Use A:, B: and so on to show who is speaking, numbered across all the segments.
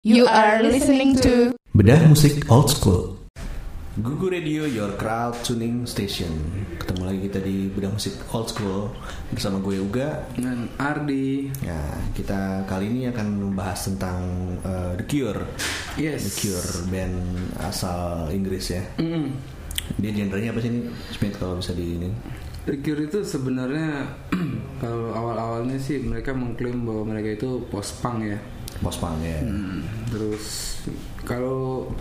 A: You are listening to
B: Bedah musik old school.
C: Gugu Radio Your Crowd Tuning Station. Ketemu lagi kita di Bedah Musik Old School bersama gue Uga.
D: dan Ardi.
C: Ya, kita kali ini akan membahas tentang eh, The Cure. The
D: Yes.
C: Cure band asal Inggris ya.
D: Mm.
C: Dia genrenya apa sih ini? Smith kalau bisa di ini.
D: The Cure itu sebenarnya kalau awal-awalnya sih mereka mengklaim bahwa mereka itu post-punk ya.
C: Post punk ya.
D: Mm. Terus kalau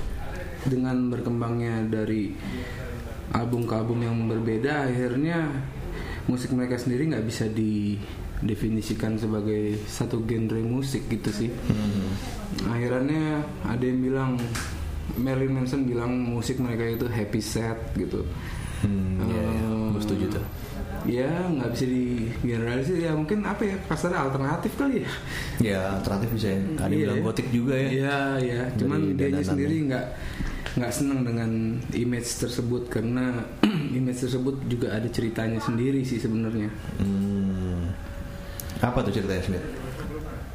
D: dengan berkembangnya dari album ke album yang berbeda akhirnya musik mereka sendiri nggak bisa didefinisikan sebagai satu genre musik gitu sih.
C: Hmm.
D: Akhirnya ada yang bilang Marilyn Manson bilang musik mereka itu happy set gitu. Eh,
C: Hmm, iya, iya. Gue setuju tuh.
D: Ya nggak bisa di generalisir ya mungkin apa ya kasarnya alternatif kali ya.
C: Ya, alternatif bisa ya. Ada yang
D: Iya,
C: bilang
D: ya.
C: gotik juga ya.
D: Iya iya.
C: Dari
D: Cuman dia
C: dandanannya.
D: sendiri nggak nggak senang dengan image tersebut karena image tersebut juga ada ceritanya sendiri sih sebenarnya.
C: Hmm. Apa tuh ceritanya Smith?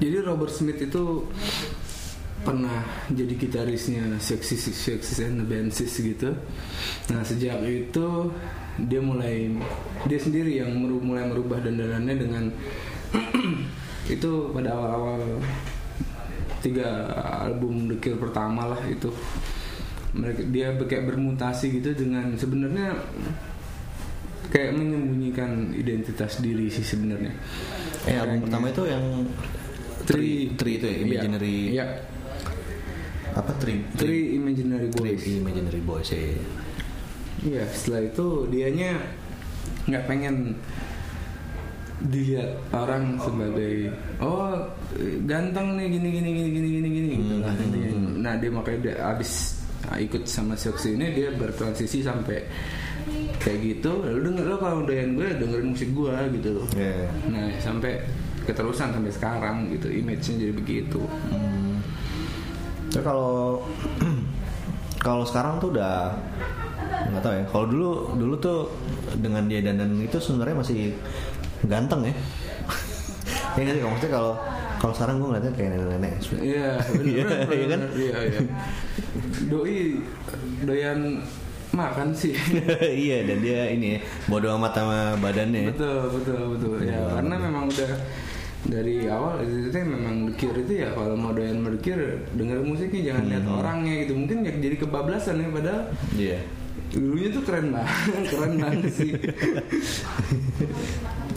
D: Jadi Robert Smith itu pernah jadi gitarisnya Sexy Sexy and the Banshees gitu. Nah sejak itu dia mulai dia sendiri yang meru- mulai merubah dandanannya dengan itu pada awal-awal tiga album The Cure pertama lah itu mereka dia be- kayak bermutasi gitu dengan sebenarnya kayak menyembunyikan identitas diri sih sebenarnya.
C: Eh, album
D: Kayaknya-
C: pertama itu yang
D: Tree.
C: Tree itu ya, Imaginary
D: Iya.
C: apa Tree?
D: Three Imaginary
C: Tree
D: Boys.
C: Imaginary Boys ya.
D: Iya, setelah itu dianya nggak pengen dilihat orang sebagai oh ganteng nih gini gini gini gini gini gini gitu lah
C: Hmm.
D: intinya. Nah dia makanya dia abis ah, ikut sama Seoksi ini dia bertransisi sampai kayak gitu. Lalu denger lo kalau dengerin gue dengerin musik gue gitu loh.
C: Iya.
D: Nah sampai keterusan sampai sekarang gitu image-nya jadi begitu.
C: Tapi kalau kalau sekarang tuh udah nggak tahu ya. Kalau dulu dulu tuh dengan dia dandan itu sebenarnya masih ganteng ya. ya nggak sih kalau maksudnya kalau kalau sekarang gue ngeliatnya kayak nenek-nenek.
D: Iya, benar.
C: Iya, iya kan?
D: Iya, iya. Doi doyan makan sih.
C: iya dan dia ini ya, bodo amat sama badannya. ya.
D: betul, betul, betul.
C: Iya.
D: Ya, karena memang udah dari awal itu tuh memang dekir itu ya kalau mau doyan berkir denger musiknya
C: Hmm.
D: jangan lihat orangnya gitu mungkin ya jadi kebablasan ya padahal
C: Iya.
D: dulunya tuh keren banget keren banget sih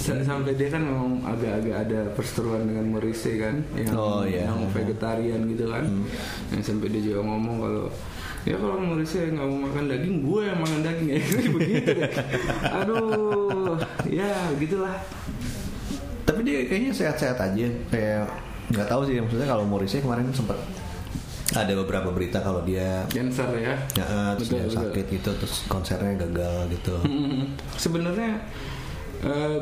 D: Dan sampai dia kan memang agak-agak ada perseteruan dengan Morrissey kan yang
C: Oh, iya. Hmm.
D: yang vegetarian gitu kan yang sampai dia juga ngomong kalau ya kalau Morrissey nggak mau makan daging gue yang makan daging ya begitu deh. aduh ya gitulah
C: Tapi dia kayaknya sehat-sehat aja. Kayak nggak tahu sih maksudnya kalau Morrissey kemarin sempet ada beberapa berita kalau dia
D: cancer ya
C: ya, eh, terus
D: Betul,
C: dia
D: Hmm. betul.
C: sakit gitu terus konsernya gagal gitu.
D: Mm-mm. Sebenarnya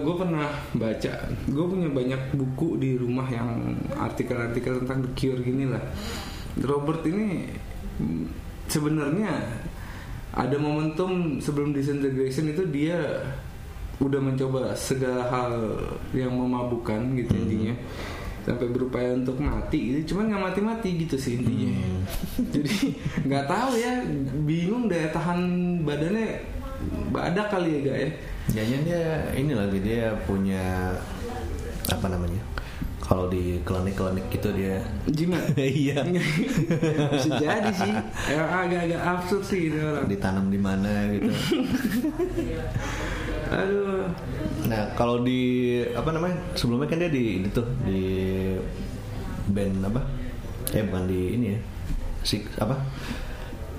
D: gue pernah baca, gue punya banyak buku di rumah yang artikel-artikel tentang The Cure gini lah. Robert ini mm, sebenarnya ada momentum sebelum disintegration itu dia udah mencoba segala hal yang memabukkan gitu intinya sampai berupaya untuk mati gitu cuman nggak mati-mati gitu sih intinya jadi nggak tahu ya bingung daya tahan badannya ada kali ya gak ya
C: Jangan dia ini lagi dia punya apa namanya? Kalau di klinik-klinik gitu dia
D: jimat
C: iya
D: bisa jadi sih Emang agak-agak absurd sih ini orang
C: ditanam di mana gitu.
D: aduh
C: Nah, kalau di apa namanya? Sebelumnya kan dia di itu di band apa? Eh bukan di ini ya. Six apa?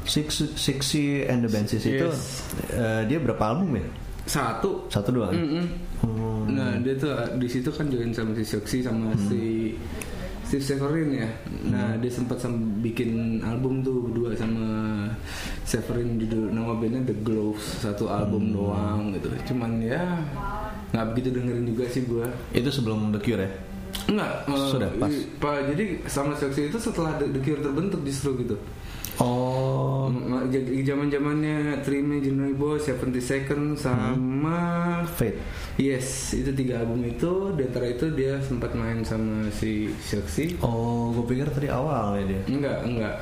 C: Six Sixy and the Banshees itu
D: Yes.
C: eh, dia berapa album ya?
D: satu
C: Satu doang. ya?
D: Mm-mm.
C: Hmm.
D: Nah dia tuh uh, di situ kan join sama si Soxy sama si Steve Severin ya.
C: Hmm.
D: Nah dia sempat sam- bikin album tuh berdua sama Severin judul nama bandnya The Gloves satu
C: Hmm.
D: album doang gitu. Cuman ya nggak begitu dengerin juga sih gua
C: Itu sebelum The Cure ya?
D: Enggak, eh,
C: Sudah, pas.
D: i- pa- jadi sama seksi itu setelah The, The Cure terbentuk justru gitu.
C: Oh,
D: Mm, jadi Zaman-zamannya Three Imaginary Boys, Seventy Second sama
C: Hmm. Fate.
D: Yes, itu tiga album itu. Di antara itu dia sempat main sama si Seksi.
C: Oh, gue pikir tadi awal ya dia.
D: Enggak, enggak.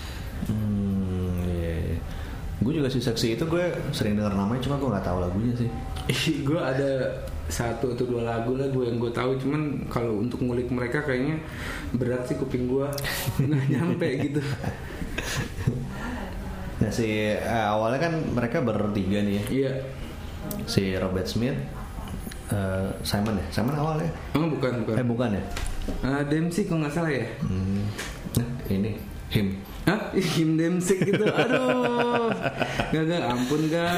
C: Hmm, iya, iya. Gue juga si seksi itu gue sering denger namanya cuma gue nggak tahu lagunya sih.
D: gue ada satu atau dua lagu lah gue yang gue tahu cuman kalau untuk ngulik mereka kayaknya berat sih kuping gue nggak nyampe gitu
C: Nah si eh, awalnya kan mereka bertiga nih ya.
D: iya
C: Si Robert Smith, eh, Simon ya, Simon awalnya.
D: oh bukan bukan
C: Eh bukan ya?
D: Eh, Dempsey kalau nggak salah ya
C: Hmm. Nah, ini him.
D: Hah? Him Dempsey gitu Aduh Gak gak ampun gak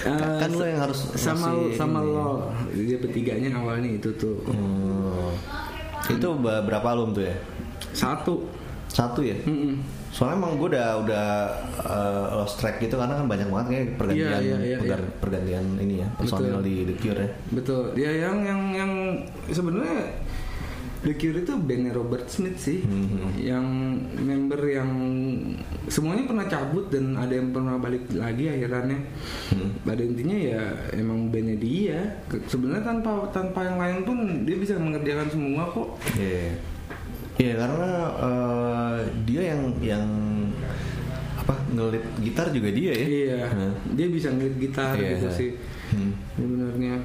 D: Eh,
C: Kan lu yang harus
D: sama
C: ngasih
D: sama
C: ini.
D: lo dia bertiganya awalnya itu tuh
C: Hmm. Itu be- berapa album tuh ya?
D: satu
C: Satu ya?
D: Mm-mm.
C: Soalnya emang gue udah udah eh, lost track gitu karena kan banyak banget kayak pergantian
D: Iya, iya, iya,
C: pergan-
D: iya.
C: pergantian ini ya personil
D: Betul.
C: di The Cure ya.
D: Betul. Ya yang yang yang sebenarnya The Cure itu bandnya Robert Smith sih,
C: Mhm.
D: yang member yang semuanya pernah cabut dan ada yang pernah balik lagi akhirannya.
C: Mhm.
D: Pada intinya ya emang bandnya dia. Ke- Sebenarnya tanpa tanpa yang lain pun dia bisa mengerjakan semua kok.
C: Iya. Iya, karena eh, dia yang yang apa ngelit gitar juga dia ya.
D: Iya,
C: Nah.
D: dia bisa ngelit gitar
C: Iya,
D: gitu
C: iya.
D: sih.
C: Hmm.
D: Sebenarnya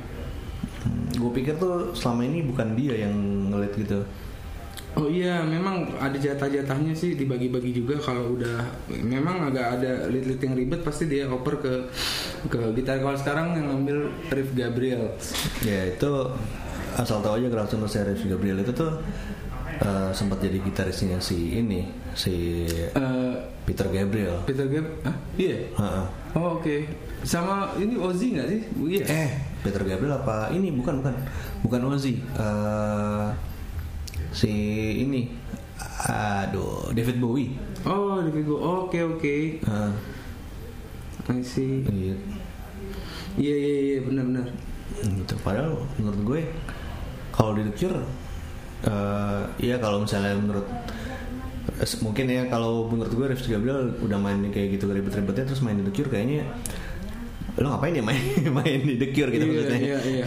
C: Gue pikir tuh selama ini bukan dia yang ngelit gitu.
D: Oh iya, memang ada jatah-jatahnya sih dibagi-bagi juga kalau udah memang agak ada lead-lead yang ribet pasti dia oper ke ke gitar kalau sekarang yang ngambil Riff Gabriel.
C: Ya itu asal tahu aja Grafton Serius Gabriel itu tuh eh, sempat jadi gitarisnya si ini si
D: Eh,
C: Peter Gabriel.
D: Peter Gabriel, ah, iya.
C: Heeh.
D: Oh oke. Sama ini Ozzy nggak sih? Iya.
C: Eh, Peter Gabriel apa ini bukan bukan bukan Ozzy. Eh, si ini aduh David Bowie.
D: Oh, David Bowie. Oke oke.
C: Heeh.
D: I see.
C: Iya.
D: Iya iya iya benar-benar.
C: gitu padahal menurut gue kalau di The Cure eh, ya kalau misalnya menurut es- mungkin ya kalau menurut gue Rifki Gabriel udah main kayak gitu ribet-ribetnya terus main di The Cure kayaknya lo ngapain ya main main di The Cure gitu
D: Iya,
C: maksudnya
D: iya, iya.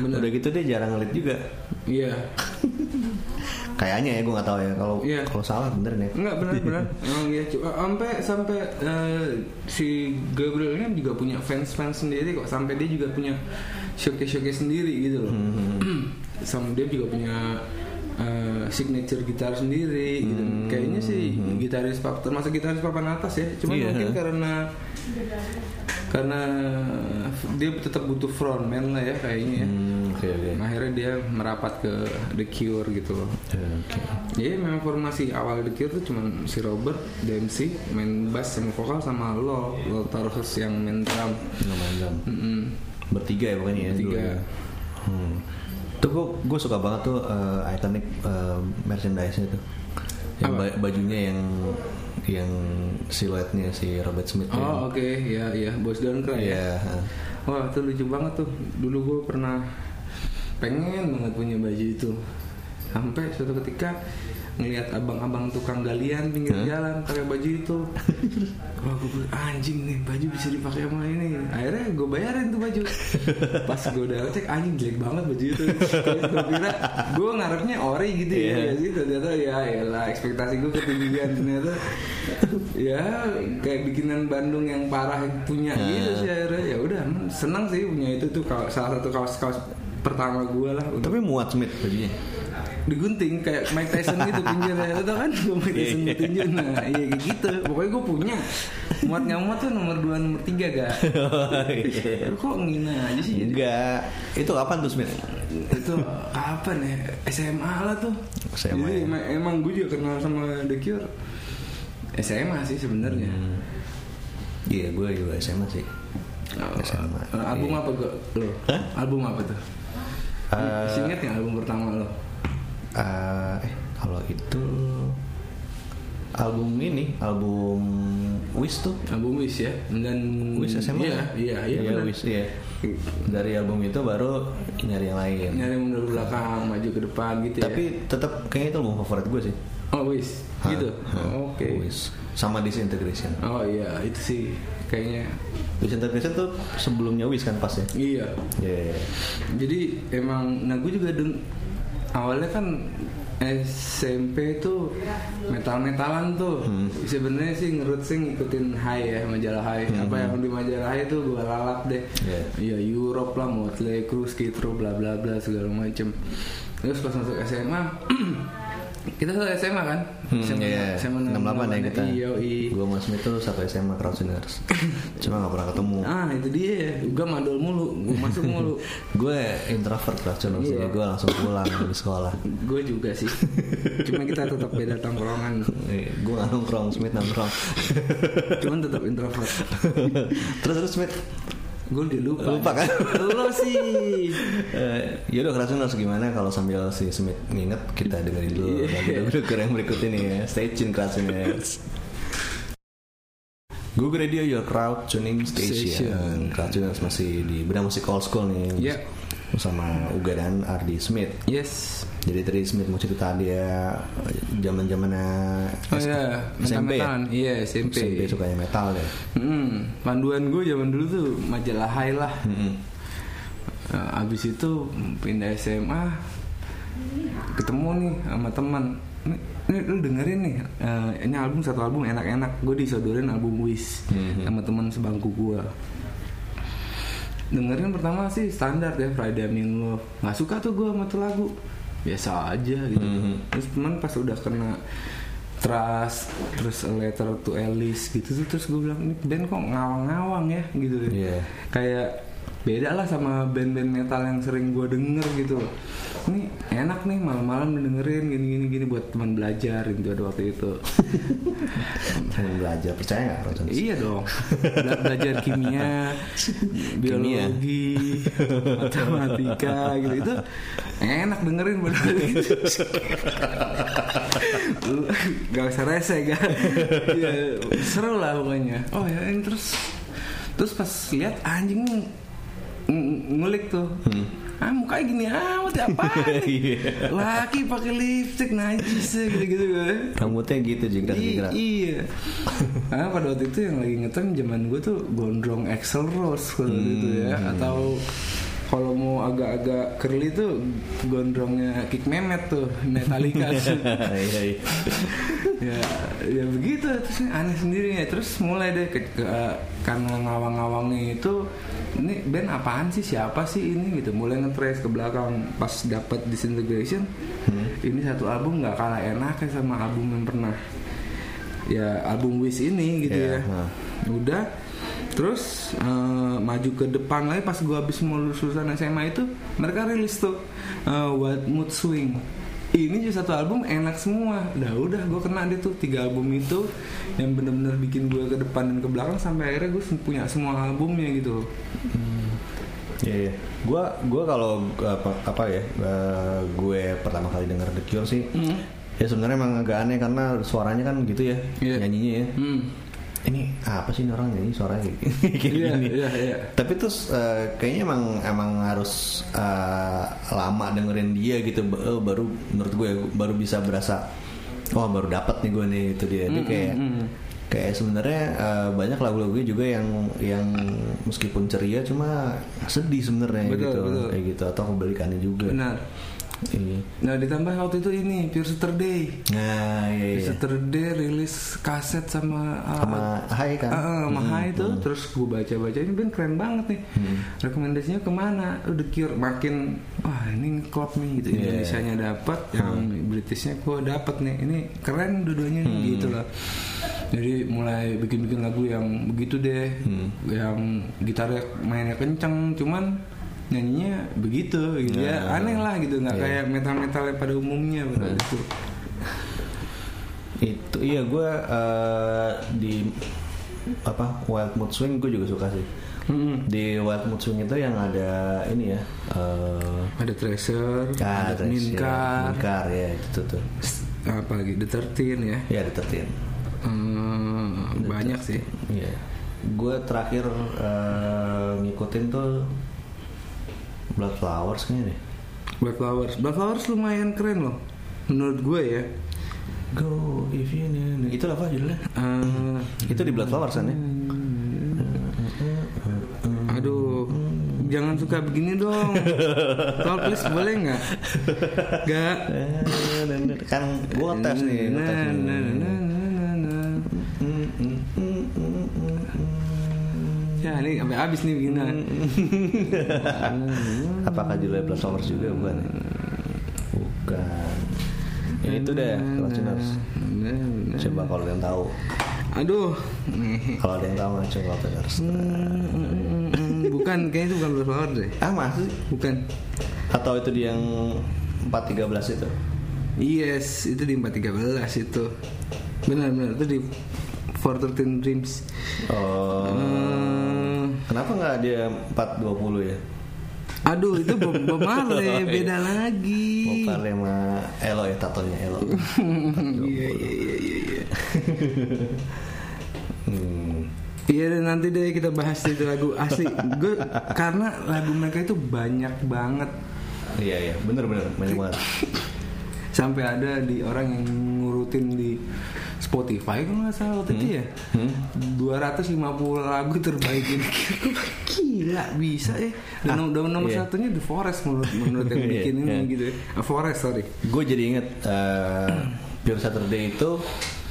D: Bener.
C: udah gitu dia jarang ngelit juga
D: Iya.
C: kayaknya ya gue nggak tahu ya kalau
D: Iya.
C: kalau salah bener nih
D: Enggak benar-benar. Emang ya sampai sampai eh, si Gabriel ini juga punya fans-fans sendiri kok. Sampai dia juga punya showcase-showcase sendiri gitu loh.
C: Hmm.
D: Sama dia juga punya eh, signature gitar sendiri gitu.
C: Hmm.
D: Kayaknya sih gitaris pap termasuk gitaris papan atas ya. Cuma
C: Iya.
D: mungkin karena karena dia tetap butuh frontman lah ya kayaknya ya.
C: Hmm, oke oke
D: Akhirnya dia merapat ke The Cure gitu loh.
C: oke
D: Jadi Iya, memang formasi awal The Cure tuh cuman si Robert, Dempsey, main bass sama vokal sama lo, lo taruh yang main drum.
C: Nggak main drum.
D: Mm-mm.
C: bertiga ya pokoknya ya
D: Bertiga.
C: dulu ya. Hmm. Tuh gue suka banget tuh eh, iconic eh, merchandise-nya tuh. Yang
D: Apa?
C: ba- bajunya yang yang siluetnya si Robert Smith. tuh.
D: Oh oke, ya ya, Boys Don't Cry ya.
C: Iya. heeh.
D: Wah itu lucu banget tuh. Dulu gue pernah pengen banget punya baju itu. Sampai suatu ketika ngelihat abang-abang tukang galian pinggir jalan pakai baju itu. Wah gue bilang, anjing nih baju bisa dipakai sama ini. Akhirnya gue bayarin tuh baju. Pas gue udah cek anjing jelek banget baju itu. gue kira gue ngarepnya ori gitu ya.
C: Iya.
D: ya sih ternyata ya lah ekspektasi gue ketinggian ternyata ya kayak bikinan Bandung yang parah punya
C: Nah.
D: gitu sih akhirnya ya udah hmm, senang sih punya itu tuh kaos- salah satu kaos kaos pertama gue lah untuk
C: Tapi muat Smith bajunya.
D: digunting kayak Mike Tyson gitu pinggirnya itu kan gue Mike Tyson ditinju nah iya kayak gitu pokoknya gue punya muat nggak muat tuh nomor 2 nomor 3 gak Lu kok ngina aja sih
C: Oh, iya.
D: jadi
C: Enggak. Itu kapan tuh Smith?
D: itu kapan ya SMA lah tuh
C: SMA,
D: Jadi
C: ya.
D: emang, emang gue juga kenal sama The Cure SMA sih sebenarnya
C: Hmm. Iya, gue juga SMA sih.
D: Oh,
C: SMA.
D: eh, album
C: iya.
D: apa gak lo
C: Hah?
D: album apa tuh
C: Eh,
D: Masih ingat nggak album pertama lo
C: Eh, eh, kalau itu album ini album Wish tuh
D: album Wish ya dan
C: Wish SMA
D: iya iya iya, benar.
C: Wish ya? iya dari album itu baru nyari yang lain
D: nyari mundur ke belakang maju ke depan gitu
C: iya. tapi
D: ya
C: tetap kayaknya itu album favorit gue sih
D: oh Wish
C: Hah,
D: gitu
C: hah,
D: oke
C: Wish. sama Disintegration
D: oh iya itu sih kayaknya
C: Disintegration tuh sebelumnya Wish kan pas ya
D: iya
C: Iya.
D: jadi emang nah gue juga deng awalnya kan SMP itu metal-metalan tuh
C: Hmm.
D: sebenarnya sih ngerut sih ngikutin Hai ya majalah Hai apa yang di majalah Hai tuh gue lalap deh
C: Hmm. Iya.
D: ya Europe lah Motley Crue Skid Row bla bla bla segala macem terus pas masuk SMA kita tuh SMA kan
C: Hmm,
D: SMA,
C: iya.
D: SMA
C: 68 ya kita.
D: iya iya.
C: Gue sama Smith tuh satu SMA Crowdsinners. Cuma gak pernah ketemu.
D: ah itu dia gue madol mulu gue masuk mulu
C: Gue introvert Crowdsinners,
D: Iya.
C: jadi gue langsung pulang dari sekolah.
D: gue juga sih cuma kita tetap beda tongkrongan
C: gue gak Iya, nongkrong, Smith nongkrong.
D: cuman tetap introvert
C: terus terus Smith.
D: gue udah lupa
C: Lupa kan?
D: lo sih
C: Eh, yaudah Crowdsinners gimana kalau sambil si Smith nginget kita dengerin dulu
D: Iya.
C: lagu-lagu keren berikut ini ya. Stay tune Crowdsinners. Google Radio Your Crowd Tuning
D: Station.
C: Station. Crowdsinners masih di Beda Musik Old School nih.
D: Iya.
C: Sama Uga dan Ardi Smith.
D: yes
C: Jadi tadi Smith mau cerita dia zaman zamannya
D: oh ya
C: SMP ya?
D: mentalan iya SMP,
C: SMP sukanya metal ya.
D: Hmm, panduan gue zaman dulu tuh majalah Hai lah
C: Hmm.
D: Eh, abis itu pindah SMA ketemu nih sama teman Nih, nih, lu dengerin nih eh, ini album satu album enak-enak gue disodorin album Wish
C: Hmm.
D: sama teman sebangku gue dengerin pertama sih standar ya Friday Amin Love nggak suka tuh gue sama tuh lagu biasa aja gitu terus cuman pas udah kena Trust terus A Letter to Alice gitu tuh terus gue bilang ini band kok ngawang-ngawang ya gitu
C: Iya.
D: kayak beda lah sama band-band metal yang sering gue denger gitu loh ini enak nih malam-malam dengerin gini-gini gini buat teman belajar gitu ada waktu itu
C: Pengen belajar percaya nggak Crowdsinners?
D: Iya dong. Bela belajar kimia, biologi, matematika gitu itu enak dengerin padahal gitu. Lu Gak usah rese kan. Iya, seru lah pokoknya. Oh ya ini terus terus pas lihat anjing ng- ngulik tuh. Ah mukanya gini amat ya apa?
C: Iya.
D: Laki pakai lipstick najis gitu-gitu kan.
C: Rambutnya gitu jingkrak jingkrak.
D: I- iya. Karena pada waktu itu yang lagi ngetem zaman gue tuh gondrong Axel Rose kalau gitu ya atau kalau mau agak-agak curly tuh gondrongnya Kick Mehmet tuh Metallica
C: Iya iya.
D: ya ya begitu terus aneh sendiri ya terus mulai deh ke, ke- karena ngawang-ngawangnya itu ini band apaan sih siapa sih ini gitu mulai ngetrace ke belakang pas dapat disintegration ini satu album nggak kalah enaknya sama album yang pernah ya album Wish ini gitu
C: Iya,
D: ya
C: nah.
D: udah terus eh, maju ke depan lagi pas gua habis mau lulus lulusan SMA itu mereka rilis tuh eh, What Mood Swing ini juga satu album enak semua udah udah gue kena deh tuh tiga album itu yang bener-bener bikin gue ke depan dan ke belakang sampai akhirnya gue punya semua albumnya gitu loh
C: Iya iya. Gua gua kalau apa apa ya eh, gue pertama kali denger The Cure sih.
D: Hmm.
C: Ya sebenarnya emang agak aneh karena suaranya kan gitu ya
D: Iya.
C: nyanyinya ya.
D: hmm.
C: Ini apa sih ini orang nyanyi suaranya kayak gini? Kayak
D: iya
C: gini.
D: iya iya
C: Tapi terus eh, kayaknya emang emang harus eh, lama dengerin dia gitu ba- eh, baru menurut gue baru bisa berasa wah baru dapat nih gue nih itu dia. Dia kayak kayak sebenarnya eh, banyak lagu-lagunya juga yang yang meskipun ceria cuma sedih sebenarnya
D: Betul,
C: gitu
D: betul.
C: kayak gitu atau kebalikannya juga.
D: benar
C: Iya.
D: nah ditambah waktu itu ini Pure Saturday
C: Nah, iya,
D: Pure
C: iya.
D: Saturday rilis kaset sama ah,
C: sama Hai kan. hmm.
D: Heeh, mahal itu terus gue baca-baca ini band keren banget nih. Rekomendasinya kemana? Oh, The Cure makin wah ini klop nih gitu.
C: Iya. Hmm.
D: Indonesianya dapat, yang Britishnya gue dapat nih. Ini keren dua-duanya nih, gitu
C: Hmm.
D: loh. Jadi mulai bikin-bikin lagu yang begitu deh,
C: Hmm.
D: yang gitarnya mainnya kenceng, cuman nyanyinya begitu gitu ya.
C: Nah.
D: Aneh lah gitu,
C: Iya.
D: nggak kayak metal-metal yang pada umumnya gitu. pada itu.
C: Hmm. itu iya gue di apa Wild Mood Swing gue juga suka sih di Wild Mood Swing itu yang ada ini ya eh
D: Ada Tracer,
C: ah,
D: ada
C: terus ya,
D: Minkar,
C: Minkar ya itu tuh
D: S- apa lagi The 13 ya
C: ya ditetin
D: Eh, banyak sih
C: Iya. Gue terakhir eh, ngikutin tuh Blood Flowers kayaknya deh.
D: Black Flowers Black Flowers lumayan keren loh menurut gue ya
C: Go if you need. Itu apa judulnya?
D: Eh,
C: Itu di Blood Flowers kan ya?
D: aduh jangan suka begini dong tolong please boleh nggak nggak
C: Eh, kan gue tes nih.
D: na,
C: ngetes nih.
D: na,
C: Hmm,
D: na, na, na, na. ya ini sampai habis nih begini
C: Hmm, Apakah judulnya Blood Flowers juga bukan? ya? Bukan. Ya itu deh, Lanciners. Coba kalau ada yang tahu.
D: aduh Hmm, Nih.
C: Kalau ada yang tahu, coba Lanciners.
D: hmm, bukan kayaknya itu bukan Black Flower deh
C: Ah masih?
D: bukan
C: Atau itu di yang 413 itu?
D: yes itu di 413 itu benar-benar itu di 413 Dreams
C: Oh.
D: Eh,
C: Kenapa nggak dia 420 ya?
D: aduh itu Bob, Bob Marley ya? beda lagi
C: Bokar sama Elo ya tatonya Elo.
D: iya iya iya iya iya
C: Hmm.
D: Iya deh, nanti deh kita bahas itu lagu asli gue karena lagu mereka itu banyak banget
C: Iya iya, bener-bener banyak banget.
D: sampai ada di orang yang ngurutin di Spotify kalau nggak salah waktu itu
C: Hmm?
D: ya 250 lagu terbaik ini gila bisa ya dan nom- dan nomor
C: iya.
D: satunya The Forest menurut menurut yang
C: Iya,
D: bikin ini
C: iya.
D: gitu ya A Forest sorry
C: Gue jadi inget eh, Pure Saturday itu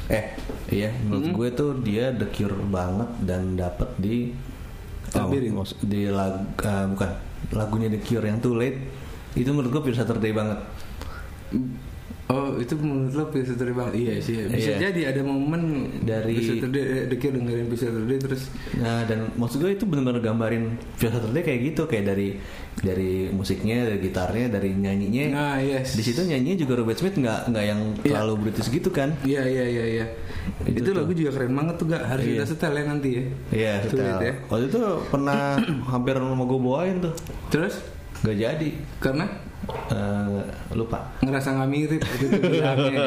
C: eh iya menurut gue tuh dia The Cure banget dan dapat di oh,
D: Tabirin.
C: maksud- di lagu eh, bukan lagunya The Cure yang Too Late itu menurut gue Pure Saturday banget.
D: Oh itu menurut lo bisa terbang Iya sih Bisa
C: Iya.
D: jadi ada momen
C: Dari-
D: Bisa Dikir dengerin bisa terdiri Terus
C: Nah dan maksud gue itu benar-benar gambarin Pure Saturday kayak gitu kayak dari dari musiknya, dari gitarnya, dari nyanyinya.
D: Nah
C: Iya.
D: yes
C: Di situ nyanyinya juga Robert Smith nggak nggak yang terlalu British gitu kan?
D: Iya iya iya iya. Itu, lagu juga keren banget tuh gak harus kita setel ya nanti ya.
C: Iya,
D: Sulit
C: setel.
D: ya.
C: Waktu itu pernah hampir mau gue bawain tuh,
D: Terus
C: nggak jadi.
D: karena
C: Eh, lupa.
D: ngerasa nggak mirip gitu tuh bilangnya.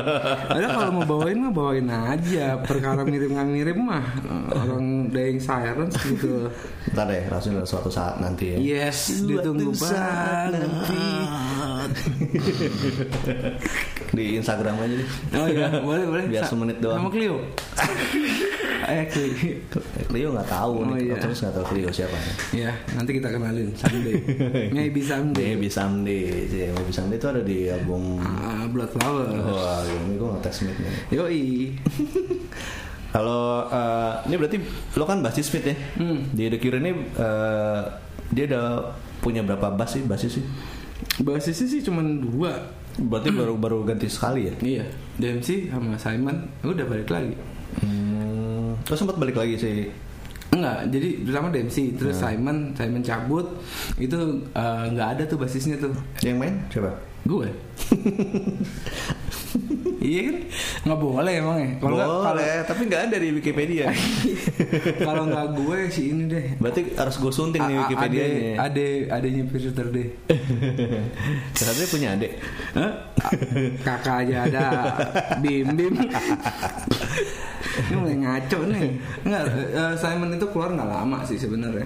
D: Ada kalau mau bawain mah bawain aja. Perkara mirip nggak mirip mah eh, orang dying sirens gitu.
C: Ntar deh, langsung suatu saat nanti ya.
D: Yes, ditunggu
C: Suatu saat
D: banget nanti.
C: Di Instagram aja deh.
D: Oh iya, boleh boleh.
C: Biar
D: Sa-
C: semenit doang.
D: Nama Clio. Eh Clio.
C: Clio nggak tahu
D: Oh,
C: nih,
D: iya.
C: terus nggak tahu Clio siapa.
D: Ya, nanti kita kenalin someday. Maybe someday.
C: Maybe someday, sih. Maybe someday itu ada di album.
D: Ah, Bloodflower.
C: Wah, ini gue ngetes Smith nih.
D: Yoi.
C: Kalau eh, ini berarti lo kan basis Smith ya? Di The Cure ini eh, dia udah punya berapa bass sih basis sih?
D: Basisnya sih cuman dua.
C: Berarti baru baru ganti sekali ya?
D: Iya, DMC sama Simon udah balik lagi.
C: Hmm, terus sempat balik lagi sih.
D: Enggak, jadi pertama DMC, terus
C: Ya.
D: Simon, Simon cabut. Itu eh, nggak ada tuh basisnya tuh.
C: Yang main siapa?
D: Gue. iya kan? Nggak boleh emang ya. Kalau nggak kalau
C: Boleh, tapi nggak ada di Wikipedia.
D: kalau nggak gue sih ini deh.
C: berarti harus gue sunting ya. nih
D: A- a-
C: Wikipedia nya.
D: ade- Ade, adenya Pierce deh.
C: Ternyata punya adik.
D: Kakak aja ada Bim Bim Ini mulai ngaco nih Nggak, eh, Simon itu keluar nggak lama sih sebenarnya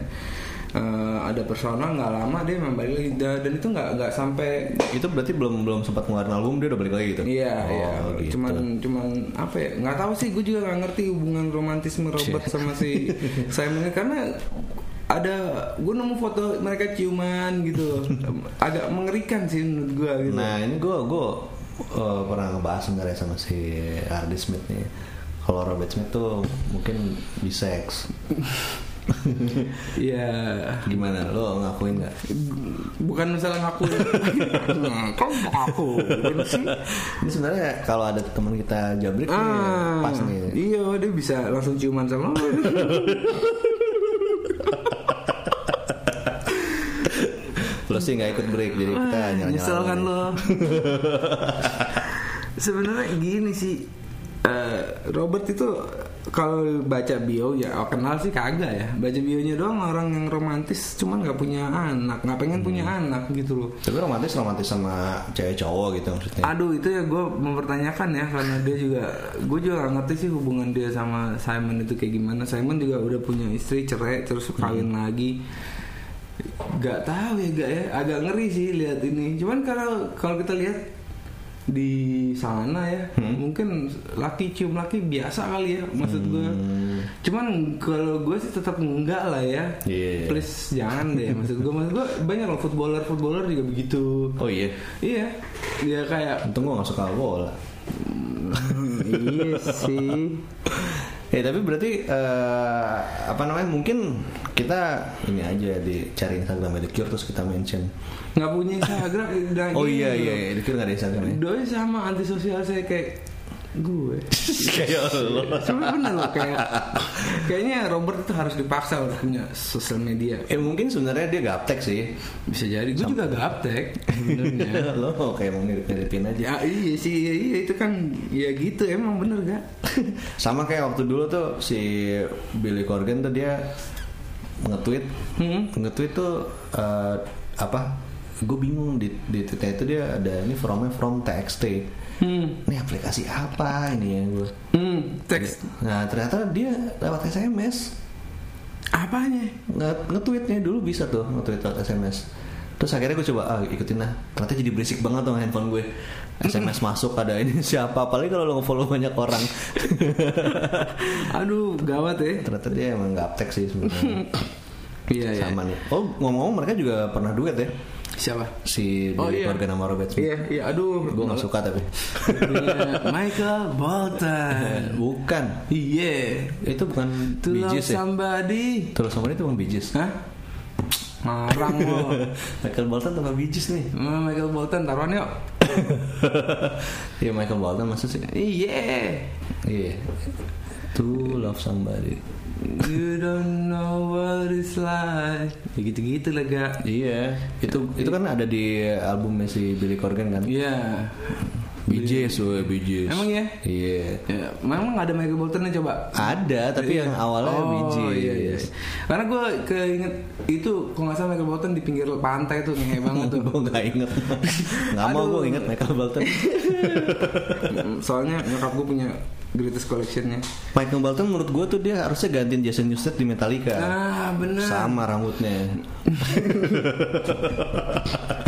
D: Eh, Ada persona nggak lama dia memang balik lagi Da- Dan itu nggak nggak sampai
C: Itu berarti belum belum sempat ngeluarin album dia udah balik lagi gitu.
D: Iya,
C: Oh,
D: iya.
C: gitu.
D: Cuman, cuman apa ya? Nggak tahu sih. Gue juga nggak ngerti hubungan romantisme Robert sama si Simon ini. karena ada gue nemu foto mereka ciuman gitu. Agak mengerikan sih menurut gue gitu.
C: Nah ini gue gue pernah ngebahas sebenarnya sama si Ardi Smith nih. Kalau Robert Smith tuh mungkin bisex.
D: Iya.
C: Gimana lo ngakuin nggak?
D: bukan masalah ngaku kok Nah, kan aku gitu sih
C: Ini sebenarnya kalau ada teman kita jabrik nih, Iya, pas nih.
D: iya dia bisa langsung ciuman sama lo
C: Lo sih nggak ikut break jadi kita nyala
D: nyesel kan lo sebenarnya gini sih eh, Robert itu kalau baca bio ya oh, kenal sih kagak ya baca bionya doang orang yang romantis cuman nggak punya anak nggak pengen punya anak gitu loh
C: Tapi romantis romantis sama cewek cowok gitu maksudnya.
D: Aduh itu ya gue mempertanyakan ya karena dia juga gue juga gak ngerti sih hubungan dia sama Simon itu kayak gimana. Simon juga udah punya istri cerai terus
C: Hmm.
D: kawin lagi. Gak tahu ya gak ya agak ngeri sih lihat ini. Cuman kalau kalau kita lihat di sana ya
C: Hmm.
D: mungkin laki cium laki biasa kali ya maksud gue.
C: Hmm.
D: Cuman kalau gue sih tetap enggak lah ya.
C: Iya.
D: Please jangan deh maksud gue maksud gue banyak loh footballer footballer juga begitu.
C: Oh iya.
D: Iya, ya kayak
C: Untung gue gak suka bola.
D: iya sih.
C: Ya tapi berarti eh, apa namanya mungkin kita ini aja dicari Instagram The Cure terus kita mention.
D: Nggak punya Instagram udah
C: Oh
D: gini gitu
C: iya
D: loh.
C: iya The Cure gak ada Instagram ya.
D: Doi sama antisosial saya kayak gue.
C: Kayak Allah.
D: Sebenernya bener loh kayak kayaknya Robert itu harus dipaksa untuk punya sosial media.
C: Eh mungkin sebenarnya dia gaptek sih.
D: Bisa jadi gue juga gaptek sebenarnya.
C: Lo kayak mau mirip-miripin aja.
D: ya iya sih iya, iya, itu kan ya gitu emang bener gak?
C: Sama kayak waktu dulu tuh si Billy Corgan tuh dia nge-tweet
D: Hmm.
C: nge-tweet tuh eh, apa? Gue bingung di di tweetnya itu dia ada ini fromnya from TXT.
D: Hmm.
C: Ini aplikasi apa ini ya gue?
D: Hmm, teks
C: Nah ternyata dia lewat SMS
D: apanya?
C: Nge- nge-tweetnya dulu bisa tuh nge-tweet lewat SMS. Terus akhirnya gue coba ah, ikutin lah. Ternyata jadi berisik banget sama handphone gue. SMS masuk ada ini siapa? Apalagi kalau lo nge-follow banyak orang.
D: Aduh, gawat ya.
C: ternyata dia emang gaptek sih sebenarnya.
D: Iya, iya.
C: Sama nih. Oh ngomong-ngomong mereka juga pernah duet ya
D: Siapa?
C: si
D: Oh,
C: Billy
D: iya.
C: Corgan sama Robert Smith.
D: Iya, iya, aduh.
C: Gue nggak suka tapi.
D: Iya, Michael Bolton.
C: bukan.
D: Iya.
C: Itu bukan
D: To love
C: bijis ya.
D: somebody.
C: Terus sama itu bukan bijis.
D: Hah? Marang lo.
C: Michael Bolton sama bijis nih.
D: Eh, Michael Bolton taruhan yuk.
C: Iya Michael Bolton maksud sih.
D: Iya.
C: Iya. To love somebody.
D: You don't know what it's like. Ya gitu-gitu lah gak.
C: Iya. Itu itu kan ada di albumnya si Billy Corgan kan.
D: Iya.
C: Bijis, weh bijis.
D: Emang ya?
C: Iya.
D: Ya, memang ada Michael Boltonnya coba.
C: Ada, tapi yang awalnya bijis.
D: iya, iya. Karena gue keinget itu kalau nggak salah Michael Bolton di pinggir pantai tuh ngehe banget tuh.
C: gue nggak inget nggak mau gue
D: Aduh.
C: inget Michael Bolton
D: Mm, Soalnya nyokap gue punya greatest collectionnya.
C: Michael Bolton menurut gue tuh dia harusnya gantiin Jason Newsted di Metallica
D: Ah benar.
C: Iya. sama rambutnya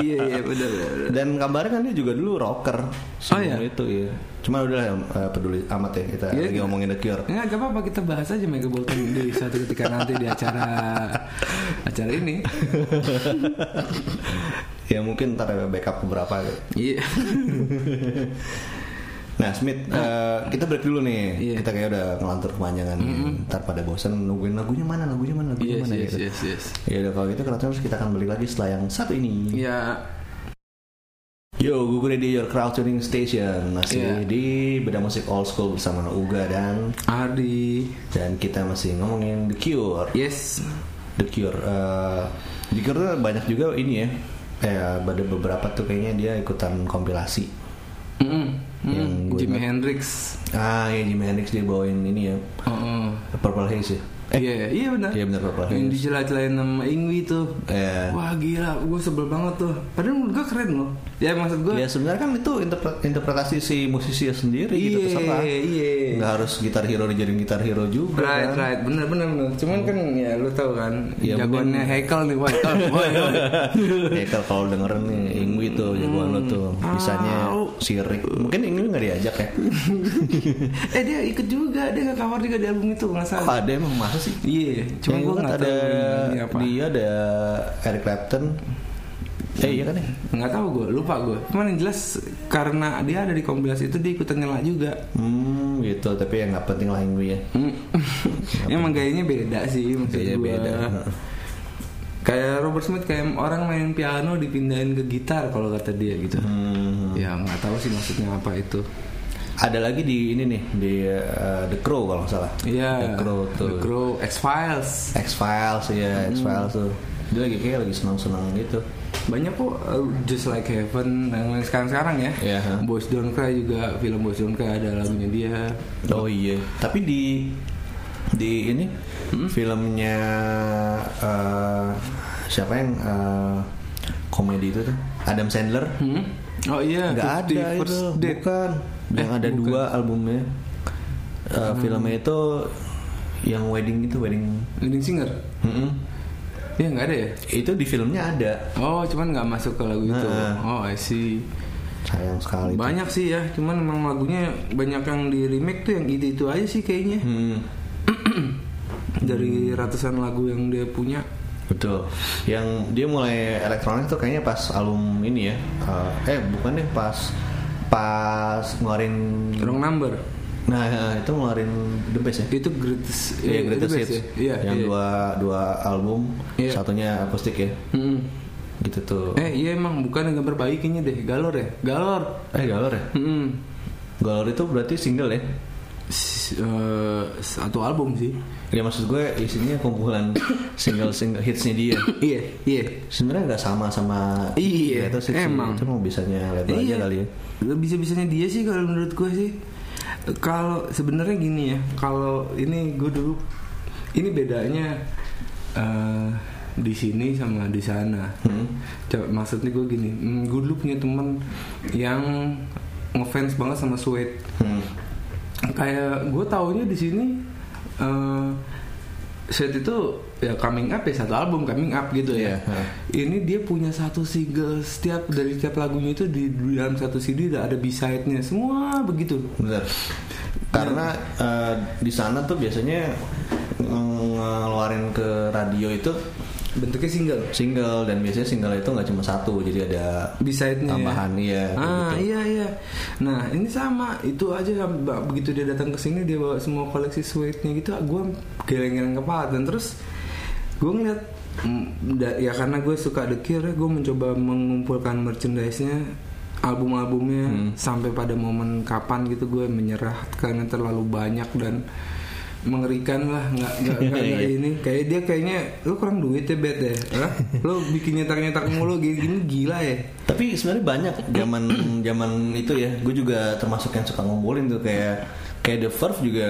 D: Iya iya benar. benar.
C: dan kabarnya kan dia juga dulu rocker
D: Oh, iya?
C: sebelum itu ya cuma udah eh, peduli amat ya kita
D: Iya,
C: lagi
D: iya.
C: ngomongin The Cure
D: Ya gak apa-apa kita bahas aja Michael Bolton di suatu ketika nanti di acara acara ini.
C: ya mungkin ntar ada backup beberapa gitu.
D: Iya.
C: Nah Smith, eh, kita break dulu nih.
D: Ah. Iya.
C: Kita kayak udah ngelantur kepanjangan. Ntar pada bosan nungguin lagunya mana, lagunya mana, lagunya
D: Yes
C: mana
D: Iya, yes
C: gitu.
D: yes yes.
C: Ya udah kalau gitu kita terus kita akan balik lagi setelah yang satu ini.
D: Ya
C: Yo, Google Radio Your Crowd Tuning Station masih
D: Iya.
C: di beda musik old school bersama Uga dan
D: Ardi.
C: dan kita masih ngomongin The Cure.
D: Yes.
C: The Cure, eh, The Cure tuh banyak juga ini ya. Eh, ada beberapa tuh kayaknya dia ikutan kompilasi.
D: Mm-mm. Mm.
C: Yang gue
D: Jimi
C: ingat.
D: Hendrix.
C: Ah, ya Jimi Hendrix dia bawain ini ya,
D: Heeh.
C: Purple Haze ya.
D: Iya iya benar.
C: Iya benar Purple
D: Yang
C: Haze.
D: dijelat-jelatin sama Ingwi tuh.
C: Eh,
D: Wah gila, gue sebel banget tuh. Padahal menurut gue keren loh. Ya maksud gue.
C: ya sebenarnya kan itu interpre- interpretasi si musisi sendiri gitu terserah.
D: iya.
C: Nggak harus gitar hero dijadiin gitar hero juga.
D: Right,
C: kan.
D: right, bener, bener, bener. Cuman kan ya lu tau kan,
C: Ya,
D: jagoannya
C: mungkin-
D: Hekel nih, woi, woi, woi.
C: ya kalau- kalau dengerin nih Ingwi tuh jagoan lo tuh
D: Hmm.
C: bisanya
D: Au.
C: sirik mungkin Ingwi nggak diajak ya
D: Eh dia ikut juga, dia nggak cover juga di album itu nggak
C: oh,
D: salah.
C: ada emang masa sih
D: Iya, cuman
C: Yang gua
D: gue nggak
C: ingat
D: tahu
C: ada
D: ini apa.
C: dia ada Eric Clapton eh iya kan ya
D: Nggak tahu gue, lupa gue. Cuman yang jelas karena dia ada di kompilasi itu dia ikutan nyela juga.
C: hmm gitu tapi yang nggak penting lah Ingwi ya
D: Hmm. Emang gayanya beda sih maksud
C: Gayanya
D: gua.
C: Iya, beda.
D: Kayak Robert Smith kayak orang main piano dipindahin ke gitar kalau kata dia gitu.
C: Hmm.
D: Ya nggak tahu sih maksudnya apa itu.
C: ada lagi di ini nih di eh, The Crow kalau nggak salah The
D: Iya.
C: Crow tuh iya,
D: The Crow Hmm. X Files.
C: X Files ya X Files tuh dia lagi kayak lagi senang senang gitu
D: banyak kok uh, Just Like Heaven yang sekarang sekarang ya
C: Iya, ha.
D: Boys Don't Cry juga film Boys Don't Cry ada lagunya dia
C: Oh iya, tapi di di ini filmnya eh, siapa yang eh, komedi itu tuh? Adam Sandler.
D: Hmm? oh iya
C: Nggak ada
D: 50
C: itu,
D: First Date.
C: bukan. Yang
D: Eh,
C: ada
D: bukan.
C: dua albumnya. Eh, Filmnya itu yang wedding itu wedding.
D: Leading Singer
C: Mm-mm.
D: ya nggak ada ya
C: Itu di filmnya ada.
D: oh cuman nggak masuk ke lagu itu
C: Nah.
D: oh I see
C: Sayang sekali. itu.
D: banyak sih ya cuman emang lagunya banyak yang di remake tuh yang itu itu aja sih kayaknya
C: Hmm,
D: dari ratusan lagu yang dia punya
C: betul. Yang dia mulai elektronik tuh kayaknya pas album ini ya. Eh, eh bukan deh pas pas ngeluarin
D: wrong number
C: Nah itu ngeluarin The Best ya?
D: itu greatest
C: Iya,
D: eh,
C: Greatest
D: itu best
C: Hits.
D: ya? iya
C: yang
D: iya.
C: dua dua album,
D: Iya.
C: satunya akustik ya.
D: Mm-mm.
C: Gitu tuh.
D: eh iya emang bukan yang gambar bayi kayaknya deh galor ya galor
C: Eh, Galor ya?
D: Mm-mm.
C: Galor itu berarti single ya?
D: S- eh, satu album sih
C: Ya maksud gue isinya kumpulan single single hitsnya dia.
D: iya iya
C: Sebenarnya nggak sama sama
D: Iya,
C: itu sih.
D: emang.
C: Itu mau bisanya label aja kali ya.
D: bisa bisanya Iya. dia sih kalau menurut gue sih kalau sebenarnya gini ya kalau ini gue dulu ini bedanya eh, di sini sama di sana
C: Hmm.
D: Coba, maksudnya gue gini gue dulu punya teman yang ngefans banget sama Sweat
C: Hmm.
D: kayak gue taunya di sini eh Sweat itu ya coming up ya satu album coming up gitu
C: Iya,
D: ya
C: heeh.
D: ini dia punya satu single setiap dari setiap lagunya itu di, di dalam satu CD udah ada B-side-nya semua begitu
C: Bener. Karena eh, di sana tuh biasanya ng- ngeluarin ke radio itu
D: bentuknya single
C: single dan biasanya single itu nggak cuma satu, jadi ada
D: B-side-nya ya.
C: tambahan iya kayak
D: ah
C: gitu.
D: iya iya nah ini sama itu aja sam- ba- begitu dia datang ke sini dia bawa semua koleksi sweatnya gitu gue geleng-geleng kepala dan terus gue ngeliat mm, da- ya karena gue suka The Cure gue mencoba mengumpulkan merchandise-nya album-albumnya
C: Hmm.
D: sampai pada momen kapan gitu gue menyerah karena terlalu banyak dan mengerikan lah nggak nggak nggak- nggak
C: Iya.
D: ini kayak dia kayaknya lu kurang duit ya bet ya Hah? lu bikin nyetak nyetak mulu gini gini gila ya
C: tapi sebenarnya banyak zaman zaman itu ya gue juga termasuk yang suka ngumpulin tuh kayak kayak The Verve juga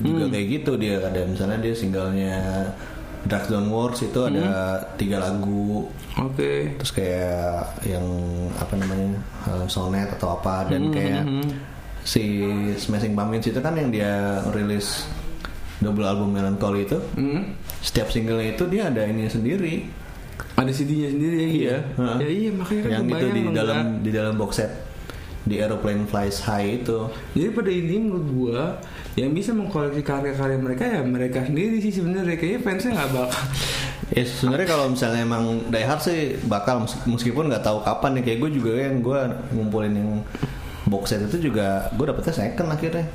C: juga kayak gitu dia ada misalnya dia singlenya Drugs Don't Wars itu ada tiga lagu
D: oke
C: terus kayak yang apa namanya uh, sonet atau apa dan kayak si Smashing Pumpkins itu kan yang dia rilis double album Melancholy itu
D: Hmm.
C: setiap singlenya itu dia ada ini sendiri
D: Ada CD-nya sendiri ya?
C: Iya, heeh.
D: Ya iya makanya kan
C: yang itu
D: kebayang
C: di
D: dong,
C: dalam
D: Kak.
C: di dalam box set di aeroplane flies high itu
D: Jadi pada ini menurut gua yang bisa mengkoleksi karya-karya mereka ya mereka sendiri sih sebenarnya kayaknya fansnya nggak bakal.
C: ya sebenarnya kalau misalnya emang Die Hard sih bakal mes- meskipun nggak tahu kapan ya kayak gue juga yang gue ngumpulin yang box set itu juga gue dapetnya second akhirnya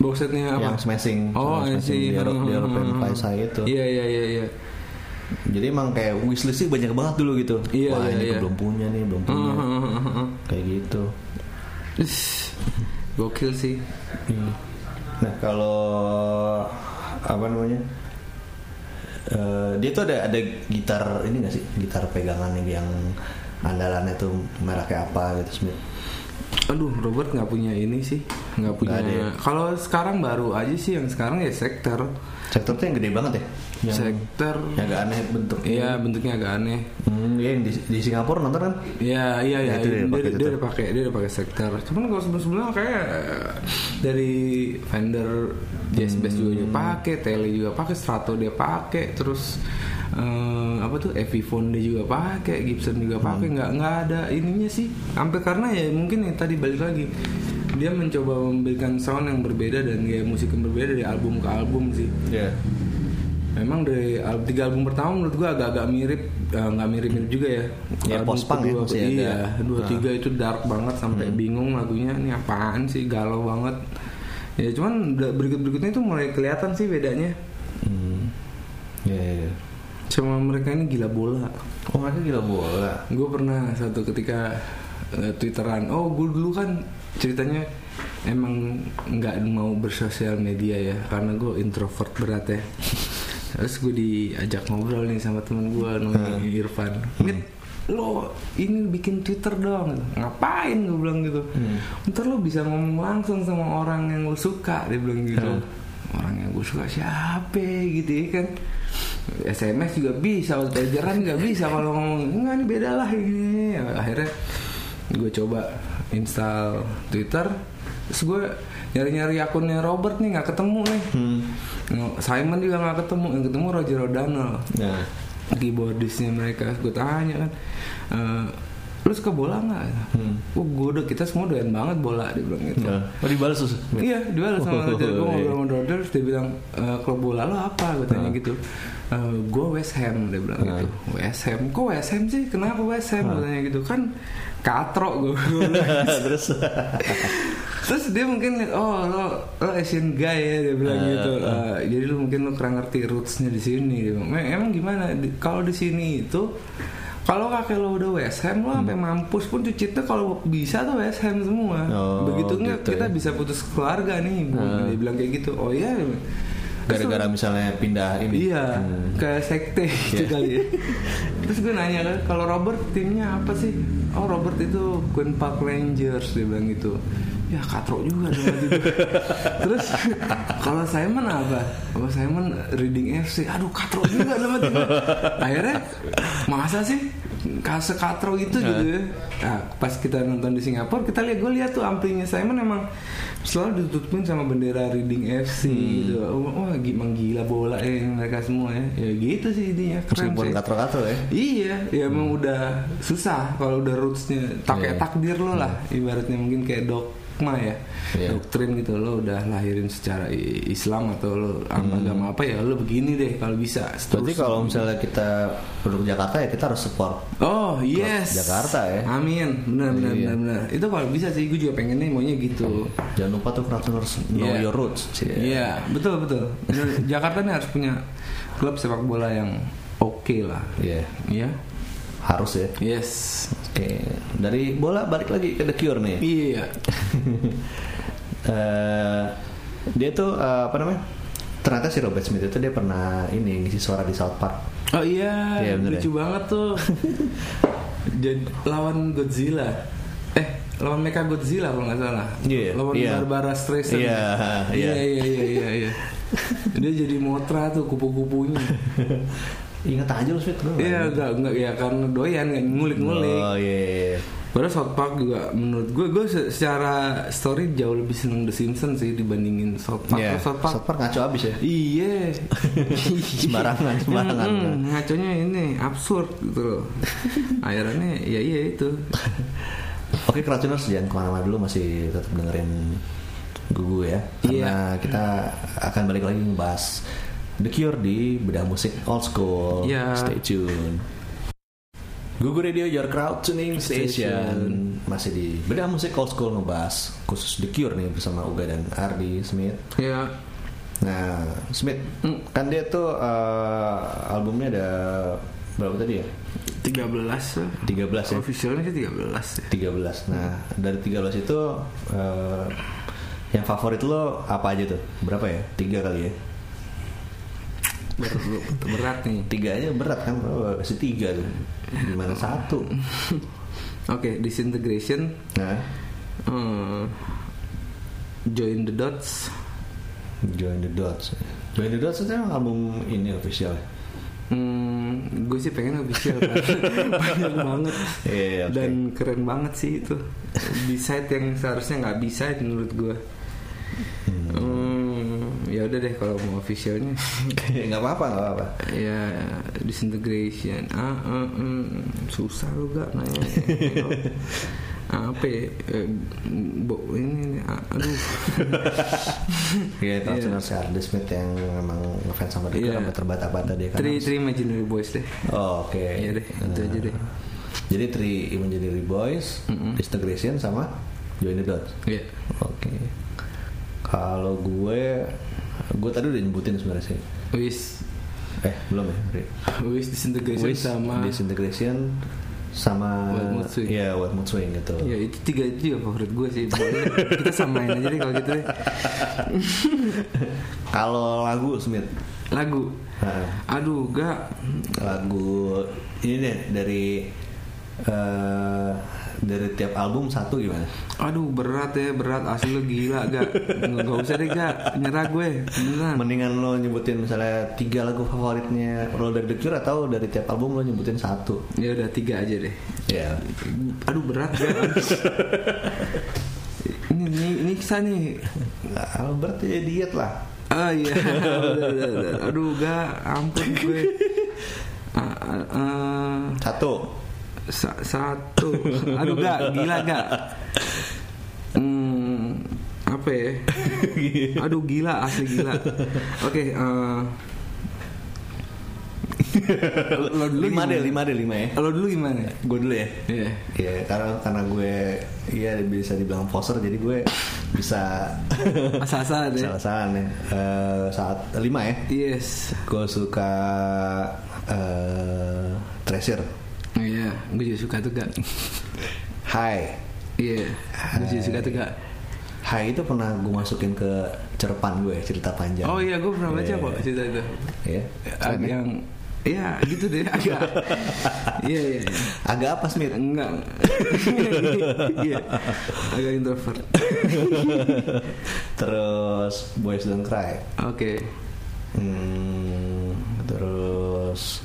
D: Box setnya apa?
C: yang smashing yang
D: oh, I
C: smashing di,
D: see.
C: aero- di
D: Hmm,
C: aeroplane
D: hmm,
C: flies high itu
D: Iya iya iya iya.
C: jadi emang kayak wishlist sih banyak banget dulu gitu
D: Iya,
C: wah
D: iya,
C: ini
D: iya.
C: belum punya nih belum punya
D: Hmm, hmm, hmm, hmm, hmm.
C: kayak gitu
D: Ish, Gokil sih.
C: Nah kalau apa namanya? Eh, dia tuh ada ada gitar ini gak sih? Gitar pegangan yang andalannya tuh mereknya apa gitu Smith.
D: Aduh, Robert nggak punya ini sih, nggak punya.
C: ada ya?
D: Kalau sekarang baru aja sih, yang sekarang ya sektor,
C: Sektor tuh yang gede banget ya? Yang,
D: sektor.
C: yang agak aneh bentuknya.
D: Iya, bentuknya agak aneh.
C: Hmm, iya, yang di, di Singapura nonton kan?
D: Ya, iya, iya,
C: itu
D: dia,
C: dia
D: dia,
C: pakai itu.
D: udah pakai, dia udah pakai sektor. Cuman kalau sebelum sebelumnya kayak eh, dari vendor jazz bass juga
C: Hmm.
D: dia pakai, tele juga pakai, strato dia pakai, terus eh, apa tuh Epiphone dia juga pakai, Gibson
C: Hmm.
D: juga pakai, nggak nggak ada ininya sih. Hampir karena ya mungkin ya tadi balik lagi dia mencoba memberikan sound yang berbeda dan gaya musik yang berbeda dari album ke album sih.
C: Iya.
D: Memang dari al- tiga album pertama menurut gua agak-agak mirip, eh, nggak mirip-mirip juga ya.
C: Ya,
D: Album
C: post-punk ya, ah.
D: kedua,
C: masih ada.
D: Iya, dua tiga itu dark banget sampai
C: Hmm.
D: bingung lagunya ini apaan sih galau banget. Ya cuman da- berikut-berikutnya itu mulai kelihatan sih bedanya.
C: Hmm. Iya, iya, iya.
D: Cuma mereka ini gila bola.
C: Oh mereka gila bola.
D: Gue pernah satu ketika eh, twitteran, oh gue dulu kan ceritanya emang nggak mau bersosial media ya karena gue introvert berat ya. Terus gue diajak ngobrol nih sama temen gue namanya Irfan. Mit, lo ini bikin Twitter dong gitu. ngapain gue bilang gitu ntar lo bisa ngomong langsung sama orang yang lo suka dia bilang gitu orang yang gue suka siapa gitu ya kan SMS juga bisa pajaran nggak bisa kalau ngomong enggak ini beda lah ini akhirnya gue coba install Twitter terus gue nyari-nyari akunnya Robert nih nggak ketemu nih Simon juga nggak ketemu yang ketemu Roger O'Donnell
C: Nah,
D: keyboardisnya mereka gue tanya kan "Eh, lu suka bola nggak Wah gue udah kita semua doyan banget bola dia bilang gitu
C: nah. Oh dibalas Sus? Oh,
D: iya dia bilang sama Roger gue ngobrol sama Roger terus dia bilang "E, klub bola lo apa gue tanya
C: Ah.
D: gitu "E, gue West Ham dia bilang gitu West Ham kok West Ham sih kenapa West Ham
C: Ah.
D: gue tanya gitu kan katrok gue
C: Terus
D: terus dia mungkin liat, oh lo lo Asian guy ya dia
C: Ah,
D: bilang gitu Eh, jadi lu mungkin lo kurang ngerti rootsnya di sini Dia bilang, "Em- emang gimana Di- kalau di sini itu kalau kakek lo udah West Ham lo
C: Hmm.
D: sampai mampus pun cucitnya kalau bisa tuh West Ham semua
C: Oh,
D: begitu enggak
C: gitu
D: kita
C: ya.
D: bisa putus keluarga nih Bu." dia bilang kayak gitu oh iya Dia bilang. Terus
C: Ah. gara-gara misalnya pindah ini. Hmm. Iya.
D: Iya, ke sekte gitu kali ya. Terus gue nanya kan, kalau Robert timnya apa sih? Oh Robert itu Queen Park Rangers dia bilang gitu. Ya katro juga dong gitu. Terus kalau Simon apa? Kalau Simon Reading FC, aduh katro juga sama tiba. Akhirnya masa sih kase katro itu gitu ya. Nah, pas kita nonton di Singapura kita lihat gue lihat tuh amplinya Simon emang selalu ditutupin sama bendera Reading FC
C: Hmm.
D: gitu. Wah, gimana gila bola ya mereka semua ya. Ya gitu sih intinya keren
C: Meskipun
D: sih.
C: katro-katro ya.
D: Iya, ya emang udah susah kalau udah rootsnya tak kayak takdir lo lah, ibaratnya mungkin kayak dogma ya,
C: Hmm. Iya.
D: doktrin gitu lo udah lahirin secara i- Islam atau lo sama agama apa ya lo begini deh kalau bisa.
C: Hmm. Berarti
D: Seterusnya.
C: kalau misalnya kita penduduk Jakarta ya kita harus support
D: Oh yes.
C: Jakarta ya. Iya.
D: Amin, benar benar benar benar. Itu kalau bisa sih, gue juga pengennya maunya gitu.
C: Jangan lupa tuh Kraton harus know
D: Iya.
C: your roots.
D: Iya, betul betul. Bener, Jakarta nih harus punya klub sepak bola yang oke lah.
C: Iya.
D: Iya.
C: Harus ya.
D: Yes.
C: Oke, dari bola balik lagi ke The Cure nih.
D: Iya.
C: Eh, dia tuh eh, apa namanya? Ternyata si Robert Smith itu dia pernah ini ngisi suara di South Park.
D: Oh iya,
C: Iya, bener
D: lucu banget tuh. Jadi lawan Godzilla. Eh, lawan Mecha Godzilla kalau nggak salah.
C: Iya,
D: Lawan
C: iya.
D: Barbara Streisand.
C: Iya, iya.
D: iya, iya, iya, iya, iya. Dia jadi motra tuh kupu-kupunya.
C: Ingat aja lu Smith gua nggak
D: Iya,
C: ingat.
D: enggak enggak ya karena doyan kan ngulik-ngulik.
C: Oh iya. iya, iya.
D: Padahal South Park juga menurut gue gue se- secara story jauh lebih seneng The Simpsons sih dibandingin South Park.
C: Iya.
D: Kalau South Park
C: South Park ngaco abis ya.
D: Iya.
C: Sembarangan, sembarangan.
D: Mm-mm, ngaconya ini absurd gitu loh. Akhirnya ya iya itu.
C: Oke Kratuners jangan kemana-mana dulu masih tetap dengerin Gugu ya
D: Iya.
C: Karena kita akan balik lagi ngebahas The Cure di bedah musik old school
D: Iya.
C: Stay tune Gugu Radio Your Crowd Tuning Station
D: Station.
C: Masih di bedah musik old school ngebahas Khusus The Cure nih bersama Uga dan Ardi Smith
D: Ya.
C: Nah Smith
D: Hmm.
C: kan dia tuh eh, albumnya ada berapa tadi ya?
D: 13 lah.
C: 13 ya?
D: Officialnya sih 13 ya.
C: 13. Nah, dari 13 itu eh, yang favorit lo apa aja tuh? Berapa ya? Tiga kali ya?
D: Ber- berat nih.
C: Tiga aja berat kan? Lo kasih tiga tuh. Gimana satu?
D: Oke, disintegration
C: Nah,
D: eh, join the dots.
C: Join the Dots. Join the Dots itu emang album ini official. ya?
D: Hmm, gue sih pengen official banget. banyak banget
C: Iya, oke.
D: dan keren banget sih itu B-side yang seharusnya nggak B-side menurut gue hmm, ya udah deh kalau mau officialnya
C: nggak apa-apa, nggak apa-apa.
D: ya disintegration ah, ah, mm, susah lu gak nanya apa ya? Eh, bo- ini nih, ah, aduh
C: Iya, yeah, si Ardi Smith yang memang ngefans sama dia
D: Iya.
C: yeah. terbata-bata dia kan.
D: Tri Tri Imaginary Boys deh
C: Oh, Oke. Nah.
D: Iya deh, itu aja deh.
C: Jadi Tri Imaginary Boys, Disintegration sama Join the Dots.
D: Iya
C: Oke. Kalau gue, gue tadi udah nyebutin sebenarnya sih.
D: Wis
C: Eh belum ya? Ri?
D: Wis disintegration
C: Waste,
D: sama
C: disintegration sama
D: Wild Mood Swing.
C: Iya, Wild Mood Swing gitu.
D: Ya itu tiga itu juga favorit gue sih Boleh, Kita samain aja deh kalau gitu deh
C: Kalau lagu Smith,
D: Lagu
C: Nah,
D: Aduh gak
C: lagu ini deh dari eh, dari tiap album satu gimana?
D: Aduh berat ya berat asli lu gila gak nggak usah deh gak nyerah gue
C: Nah.
D: beneran.
C: Mendingan lo nyebutin misalnya tiga lagu favoritnya lo dari The Cure atau dari tiap album lo nyebutin satu?
D: Ya udah tiga aja deh.
C: Ya.
D: Aduh berat gak. ini ini ini kisah nih.
C: Albert ya diet lah.
D: Ah iya. Udah, udah, udah. Aduh gak ampun gue. Ah, ah, ah.
C: Satu.
D: Sa- satu. Aduh gak gila gak. Hmm, apa ya? Aduh gila asli gila. Oke. eh, lo dulu
C: lima
D: gimana?
C: deh, lima deh, lima ya.
D: Lo dulu gimana?
C: Gue dulu ya.
D: Iya.
C: Iya, karena karena gue iya bisa dibilang poser jadi gue bisa
D: Asal-asalan ya.
C: salah-salah ya. Eh, saat lima ya.
D: Yes.
C: Gue suka eh Treasure.
D: Oh Iya, gue juga suka tuh gak.
C: Hai.
D: Iya, gue juga suka tuh gak.
C: Hai itu pernah gue masukin ke cerpen gue cerita panjang.
D: Oh iya, gue pernah baca
C: Iya.
D: kok cerita itu.
C: Iya.
D: Ada yang, iya gitu deh agak. Iya iya. iya.
C: Agak apa Smith?
D: Enggak. Iya, agak introvert.
C: Terus Boys Don't Cry.
D: Oke.
C: Hmm, terus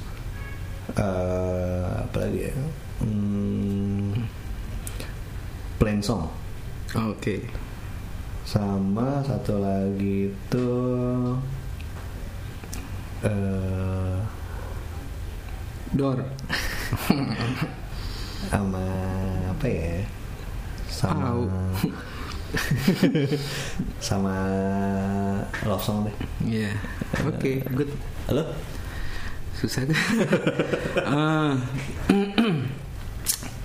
C: eh apa lagi ya? Hmm, plain song
D: Oke.
C: sama satu lagi itu eh
D: Dor.
C: sama apa ya? Sama
D: Au.
C: sama love song deh.
D: Iya. Oke, good.
C: Halo?
D: Susah deh. Ah.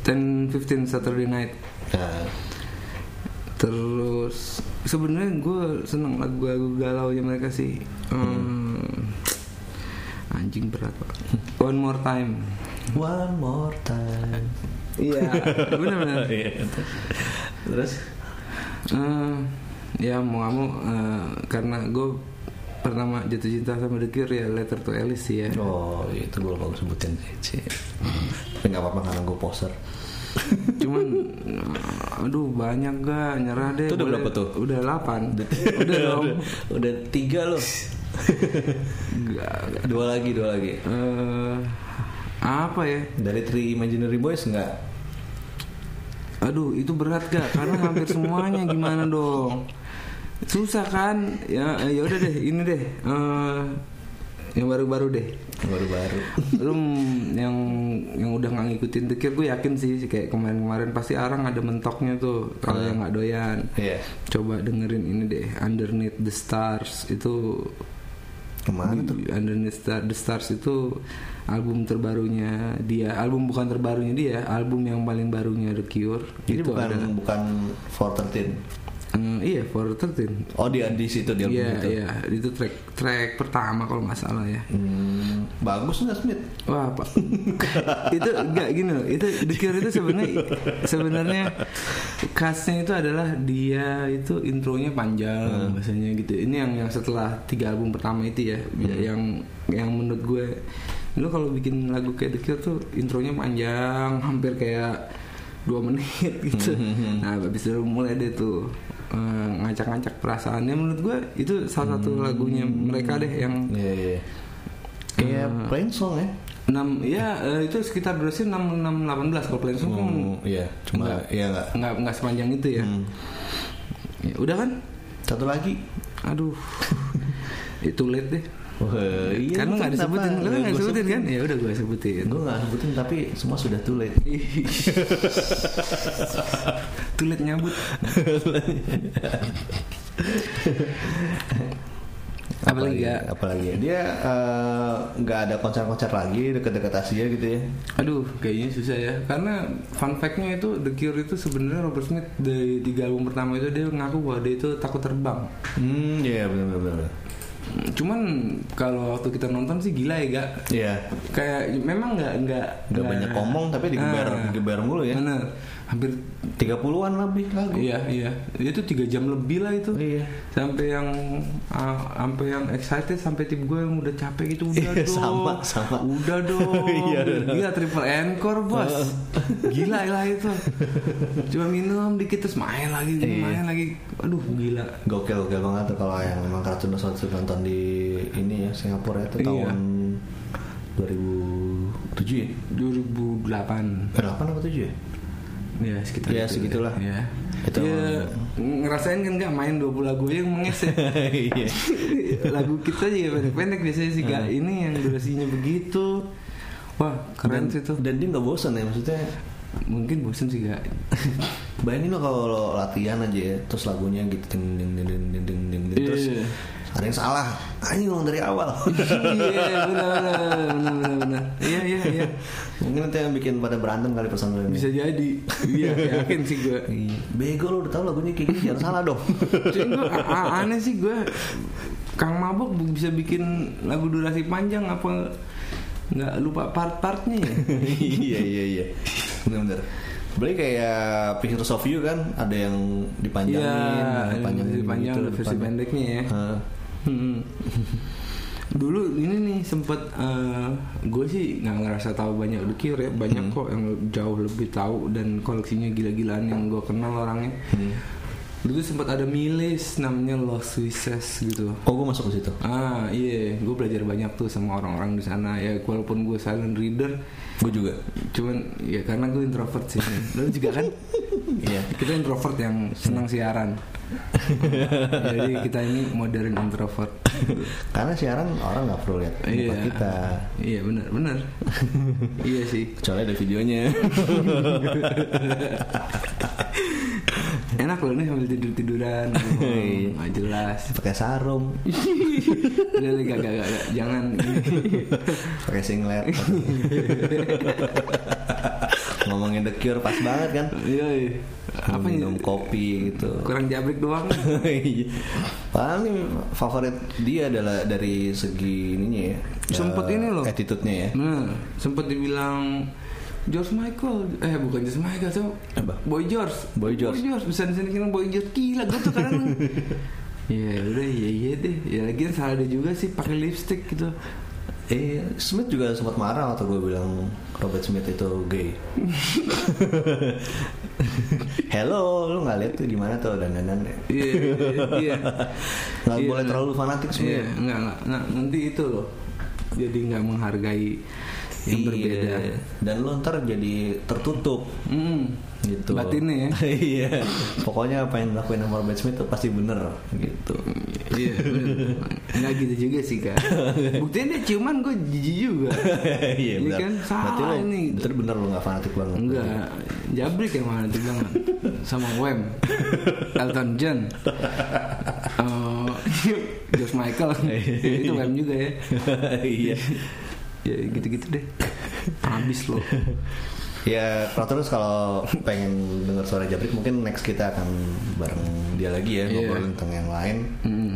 D: 10-15 Saturday night.
C: Nah,
D: Terus sebenarnya gue seneng lagu-lagu galau nya mereka sih. Hmm, Anjing berat pak. One more time.
C: one more time.
D: Iya. Benar-benar.
C: Iya. Terus
D: Eh, ya mau nggak mau eh, karena gue pertama jatuh cinta sama The Cure ya Letter to Alice sih ya.
C: Oh, itu gue lupa sebutin sih. Cie. Tapi nggak apa-apa karena gue poser.
D: Cuman eh, aduh banyak gak nyerah deh.
C: Itu udah
D: Boleh-
C: berapa tuh?
D: Udah 8 Udah dong.
C: Udah tiga loh.
D: Nggak.
C: dua lagi, dua lagi.
D: Eh, apa ya?
C: Dari Three Imaginary Boys nggak?
D: Aduh, itu berat gak? Karena hampir semuanya gimana dong? Susah kan? Ya, eh, ya udah deh, ini deh. Eh, yang baru-baru deh.
C: Baru-baru.
D: Lu mm, yang yang udah nggak ngikutin The Cure, gue yakin sih kayak kemarin-kemarin pasti Arang ada mentoknya tuh kalau yang nggak doyan.
C: Iya.
D: Coba dengerin ini deh, Underneath the Stars itu
C: Kemana tuh?
D: di- Underneath Star- the Stars itu album terbarunya dia, album bukan terbarunya dia, album yang paling barunya The Cure.
C: Ini
D: itu
C: bukan
D: ada
C: kan bukan 413.
D: Eh, iya, for 13.
C: Oh, dia di situ dia
D: Iya,
C: itu.
D: iya, itu track track pertama kalau nggak salah ya.
C: Hmm, bagus nggak Smith?
D: Wah, Pak. itu nggak gini loh. Itu The Cure itu sebenarnya sebenarnya khasnya itu adalah dia itu intronya panjang biasanya gitu. Ini yang yang setelah tiga album pertama itu ya, yang yang menurut gue lu kalau bikin lagu kayak The Cure tuh intronya panjang, hampir kayak dua menit gitu. Nah, habis itu mulai deh tuh eh, ngacak-ngacak perasaannya menurut gue itu salah satu lagunya mereka deh yang Eh,
C: Iya, iya. Kayak plain song ya.
D: 6 ya eh, itu sekitar durasinya 6 6 18 kalau plain song kan
C: Hmm, iya, cuma
D: Nggak.
C: iya nggak.
D: nggak nggak sepanjang itu ya.
C: Hmm.
D: Ya, udah kan?
C: Satu lagi.
D: Aduh. itu late deh.
C: Wah, iya,
D: Karena nggak
C: kenapa?
D: disebutin, Kan lu nggak
C: Gua
D: disebutin
C: sebutin.
D: kan? Ya udah gue sebutin.
C: Gue nggak sebutin tapi semua sudah too late.
D: Too late nyabut. Apalagi ya?
C: apalagi ya? dia eh, nggak ada konser-konser lagi dekat-dekat Asia gitu ya
D: Aduh, kayaknya susah ya. Karena fun fact-nya itu The Cure itu sebenarnya Robert Smith dari tiga album pertama itu dia ngaku bahwa dia itu takut terbang.
C: hmm iya benar-benar
D: Cuman kalau waktu kita nonton sih gila ya gak
C: Iya.
D: kayak memang nggak nggak
C: Nggak banyak ngomong, tapi digeber- digeber mulu ya.
D: Nah. Ah. Bener. hampir
C: 30-an lebih lagu.
D: iya iya itu tiga jam lebih lah itu
C: Iya.
D: sampai yang ah, sampai yang excited sampai tim gue yang udah capek gitu udah
C: Iya,
D: dong
C: sama, sama.
D: udah dong
C: Iya, bener.
D: gila triple encore bos gila lah itu cuma minum dikit terus main lagi
C: Iya.
D: main lagi aduh gila
C: Gokil gokil banget tuh kalau yang memang Kartun waktu nonton di ini ya Singapura itu
D: Iya.
C: tahun 2007 ya.
D: 2008
C: Eh, 8 apa 7 ya?
D: Ya sekitar
C: Ya,
D: itu.
C: segitulah.
D: Ya.
C: Itu
D: Ya, ngerasain kan nggak main 20 lagu aja yang menges ya.
C: Iya. Ah.
D: lagu kita juga pendek-pendek biasanya sih gak ini yang durasinya begitu. Wah keren
C: Dan-
D: sih tuh.
C: Dan dia nggak bosan ya maksudnya.
D: Mungkin bosen sih gak.
C: Bayangin lo kalau lo latihan aja ya, terus lagunya gitu ding ding ding ding ding ding ding, ding. terus
D: Iya.
C: ada yang salah. Anjing ulang dari awal.
D: Iya benar-benar benar-benar. Iya iya iya.
C: Mungkin itu yang bikin pada berantem kali pesantren. ini.
D: Bisa jadi. Iya yakin sih gue.
C: Iya. Bego lo udah tau lagunya kayak gini jangan salah dong.
D: Cuy, gua a- a- aneh sih gue Kang Mabok bu- bisa bikin lagu durasi panjang apa nggak lupa part-partnya ya?
C: iya iya iya benar-benar Beli kayak Pictures of You kan ada yang dipanjangin,
D: Iya,
C: dipanjangin
D: versi panjang
C: gitu
D: ada versi
C: depannya.
D: pendeknya ya.
C: Heeh.
D: Hmm. Dulu ini nih sempet eh, gue sih nggak ngerasa tahu banyak The Cure ya, banyak
C: Mm-hmm.
D: kok yang jauh lebih tahu dan koleksinya gila-gilaan yang gue kenal orangnya.
C: Mm-hmm.
D: Dulu sempat ada Miles namanya Lost Wishes gitu.
C: Oh gue masuk ke situ.
D: Ah iya, gue belajar banyak tuh sama orang-orang di sana ya. Walaupun gue silent reader,
C: Gue juga.
D: cuman ya karena gue introvert sih. Lo juga kan?
C: Iya.
D: kita introvert yang senang siaran jadi kita ini modern introvert
C: Karena siaran orang nggak perlu lihat muka kita.
D: iya benar benar iya sih
C: Kecuali ada videonya.
D: enak loh nih sambil tidur tiduran nggak jelas
C: Pakai sarung,
D: udah gak, gak, gak, gak. jangan
C: pakai singlet. Ngomongin The Cure pas banget kan.
D: iya iya. apa ya?
C: minum kopi gitu.
D: kurang jabrik doang
C: Iya. Padahal nih favorit dia adalah dari segi ininya ya.
D: Sempet
C: eh,
D: ini loh.
C: Attitude-nya ya.
D: nah sempat dibilang George Michael eh bukan George Michael so
C: Apa?
D: Boy George
C: Boy George.
D: bisa di sini kira Boy George gila gue tuh kadang ya udah iya iya deh ya lagi salah dia juga sih pakai lipstick gitu
C: Eh, Smith juga sempat marah waktu gue bilang Robert Smith itu gay. Hello, lu nggak lihat tuh gimana tuh dandanan
D: iya iya, iya
C: Nggak
D: Iya,
C: boleh
D: bener.
C: terlalu fanatik
D: iya
C: sebenarnya.
D: enggak enggak Nah, nanti itu loh jadi nggak menghargai yang
C: Iya.
D: berbeda
C: Dan lu ntar jadi tertutup
D: hmm.
C: gitu.
D: batinnya ya
C: Iya. Pokoknya apa yang dilakuin sama Robert Smith itu pasti bener gitu.
D: Iya, bener. nggak gitu juga sih kak. Buktinya dia ciuman gue jijik juga.
C: Iya benar.
D: kan salah
C: Berarti lu
D: ini.
C: bener bener lu nggak fanatik banget.
D: Enggak, jabrik yang mana tuh banget. Sama Wem, Elton John, eh, George Michael, Ya, itu Wem juga ya.
C: Iya.
D: Ya gitu-gitu deh. Habis loh.
C: Ya, kalau terus kalau pengen dengar suara Jabrik mungkin next kita akan bareng dia lagi ya
D: Iya.
C: ngobrolin tentang yang lain.
D: Hmm.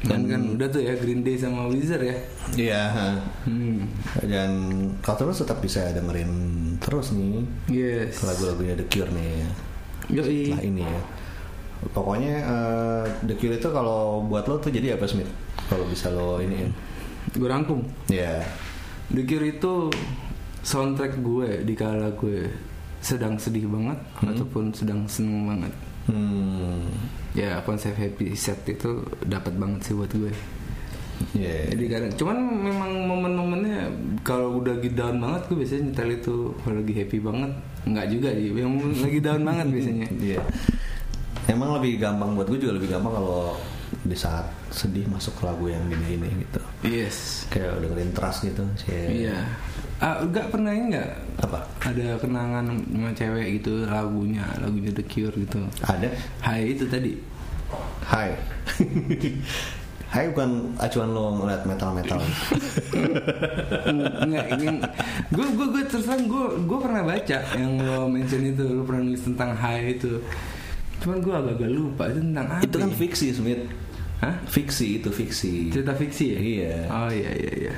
D: Dan kan udah tuh ya Green Day sama Wizard ya.
C: Iya. ha.
D: Hmm.
C: Dan kalau terus tetap bisa dengerin terus nih
D: Yes.
C: lagu-lagunya The Cure nih
D: Yoi.
C: setelah ini ya. Pokoknya eh, The Cure itu kalau buat lo tuh jadi apa Smith? Kalau bisa lo ini
D: Gue rangkum.
C: ya.
D: The Cure itu soundtrack gue di kala gue sedang sedih banget ataupun sedang seneng banget.
C: Hmm.
D: Ya konsep happy set itu dapat banget sih buat gue.
C: Ya.
D: Jadi kadang, cuman memang momen-momennya kalau udah lagi down banget gue biasanya nyetel itu kalau lagi happy banget nggak juga sih, yang lagi down banget biasanya.
C: Iya. Emang lebih gampang buat gue juga lebih gampang kalau di saat sedih masuk ke lagu yang gini ini gitu.
D: Yes.
C: Kayak dengerin trust gitu. Kayak,
D: Iya. Ah, nggak pernah ini nggak
C: Apa?
D: ada kenangan sama cewek gitu lagunya lagunya The Cure gitu.
C: Ada.
D: Hai itu tadi.
C: Hai. Hai bukan acuan lo ngeliat metal-metal.
D: Enggak, gue gue gue terus terang gue gue pernah baca yang lo mention itu lo pernah nulis tentang high itu cuman gue agak-agak lupa itu tentang apa
C: itu kan
D: ya?
C: fiksi Smith.
D: Hah?
C: Fiksi itu fiksi.
D: Cerita fiksi ya?
C: Iya.
D: Oh iya iya iya.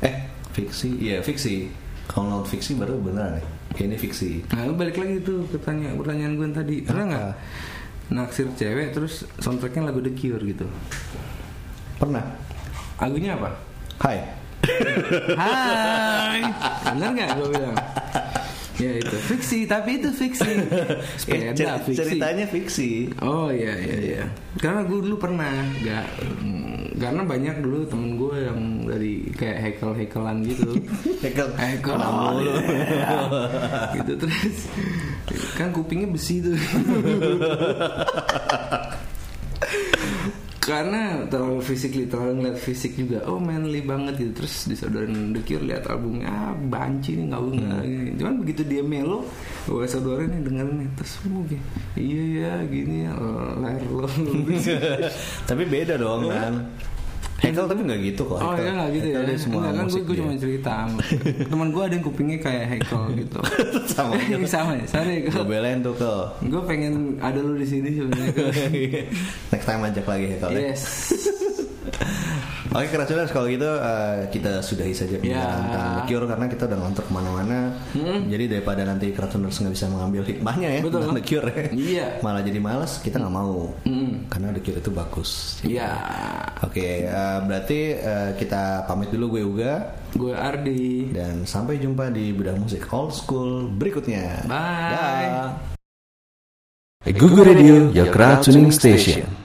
C: Eh, fiksi? Iya, fiksi. Kalau non fiksi baru beneran nih. Ini fiksi.
D: Nah, lu balik lagi tuh ke tanya- pertanyaan gue yang tadi. Pernah nggak
C: Apa?
D: naksir cewek terus soundtracknya lagu The Cure gitu?
C: Pernah?
D: Lagunya apa?
C: Hai.
D: Hai. Benar nggak gue bilang? Ya itu fiksi, tapi itu fiksi.
C: Eh,
D: Sepeda
C: cer-
D: fiksi.
C: ceritanya fiksi.
D: Oh iya iya iya. Karena gue dulu pernah nggak mm, karena banyak dulu temen gue yang dari kayak hekel hekelan gitu.
C: Hekel.
D: Hekel
C: Kenapa lu?
D: gitu terus kan kupingnya besi tuh. karena terlalu physically terlalu ngeliat fisik juga oh manly banget gitu terus disodorin The Cure lihat albumnya ah banci nih nggak bunga gini. cuman begitu dia melo gue sodorin nih dengerin nih terus oh, gini, iya ya gini ya eh, layar lo
C: tapi beda dong kan. Hekel tapi nggak gitu kok.
D: Iya. Oh
C: Hekel.
D: iya nggak gitu ya
C: Hekel dia semua
D: Enggak kan gue,
C: musik
D: gue
C: dia.
D: cuma cerita Temen gue ada yang kupingnya kayak hekel gitu
C: Sama aja.
D: Ini sama ya Sorry
C: Gue
D: gue
C: belain tuh ke.
D: Gue pengen ada lu di sini sebenarnya
C: Next time ajak lagi Hekel. ya.
D: Yes
C: Oke keracunan kalau gitu eh, kita sudahi saja pembicaraan
D: Ya.
C: tentang The Cure karena kita udah ngontor kemana-mana Jadi daripada nanti keracunan nggak bisa mengambil hikmahnya ya
D: Hmm? Betul.
C: tentang The Cure ya
D: Iya. Hmm.
C: Malah jadi malas kita nggak mau Karena The Cure itu bagus
D: Iya
C: Oke eh, berarti eh, kita pamit dulu gue Uga
D: Gue Ardi
C: Dan sampai jumpa di Bedah Musik Old School berikutnya
D: Bye.
C: Dah.
B: Google Radio, your crowd tuning station.